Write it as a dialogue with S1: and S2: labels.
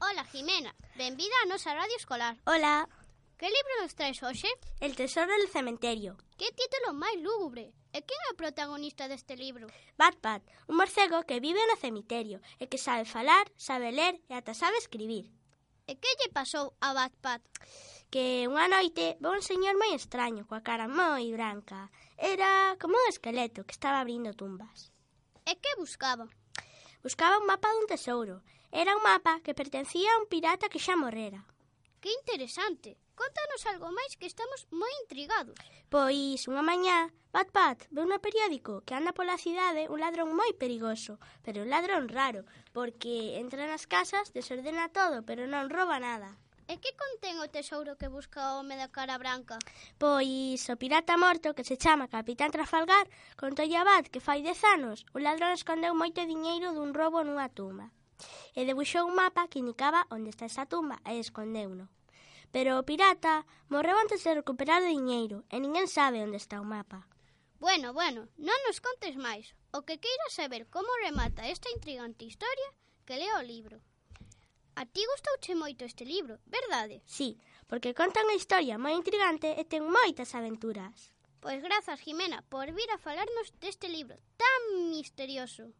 S1: Ola, Jimena. Benvida á nosa radio escolar.
S2: Ola,
S1: Que libro nos traes hoxe?
S2: El tesoro del cementerio.
S1: Que título máis lúgubre? E quen é o protagonista deste libro?
S2: Batbat, un morcego que vive no cemiterio e que sabe falar, sabe ler e ata sabe escribir.
S1: E que lle pasou a Batpat?
S2: Que unha noite veu un señor moi extraño, coa cara moi branca. Era como un esqueleto que estaba abrindo tumbas.
S1: E que buscaba?
S2: Buscaba un mapa dun tesouro. Era un mapa que pertencía a un pirata que xa morrera.
S1: Que interesante. Contanos algo máis que estamos moi intrigados.
S2: Pois, unha mañá, Batbat veu no periódico que anda pola cidade un ladrón moi perigoso, pero un ladrón raro, porque entra nas casas, desordena todo, pero non rouba nada.
S1: E que contén o tesouro que busca o home da cara branca?
S2: Pois o pirata morto que se chama Capitán Trafalgar contolle a Bat que fai dez anos un ladrón escondeu moito diñeiro dun robo nunha tumba e debuxou un mapa que indicaba onde está esa tumba e escondeuno. Pero o pirata morreu antes de recuperar o diñeiro e ninguén sabe onde está o mapa.
S1: Bueno, bueno, non nos contes máis. O que queiras saber como remata esta intrigante historia, que lea o libro. A ti gustouche moito este libro, verdade?
S2: Sí, porque conta unha historia moi intrigante e ten moitas aventuras.
S1: Pues Pois grazas, Jimena, por vir a falarnos deste libro este tan misterioso.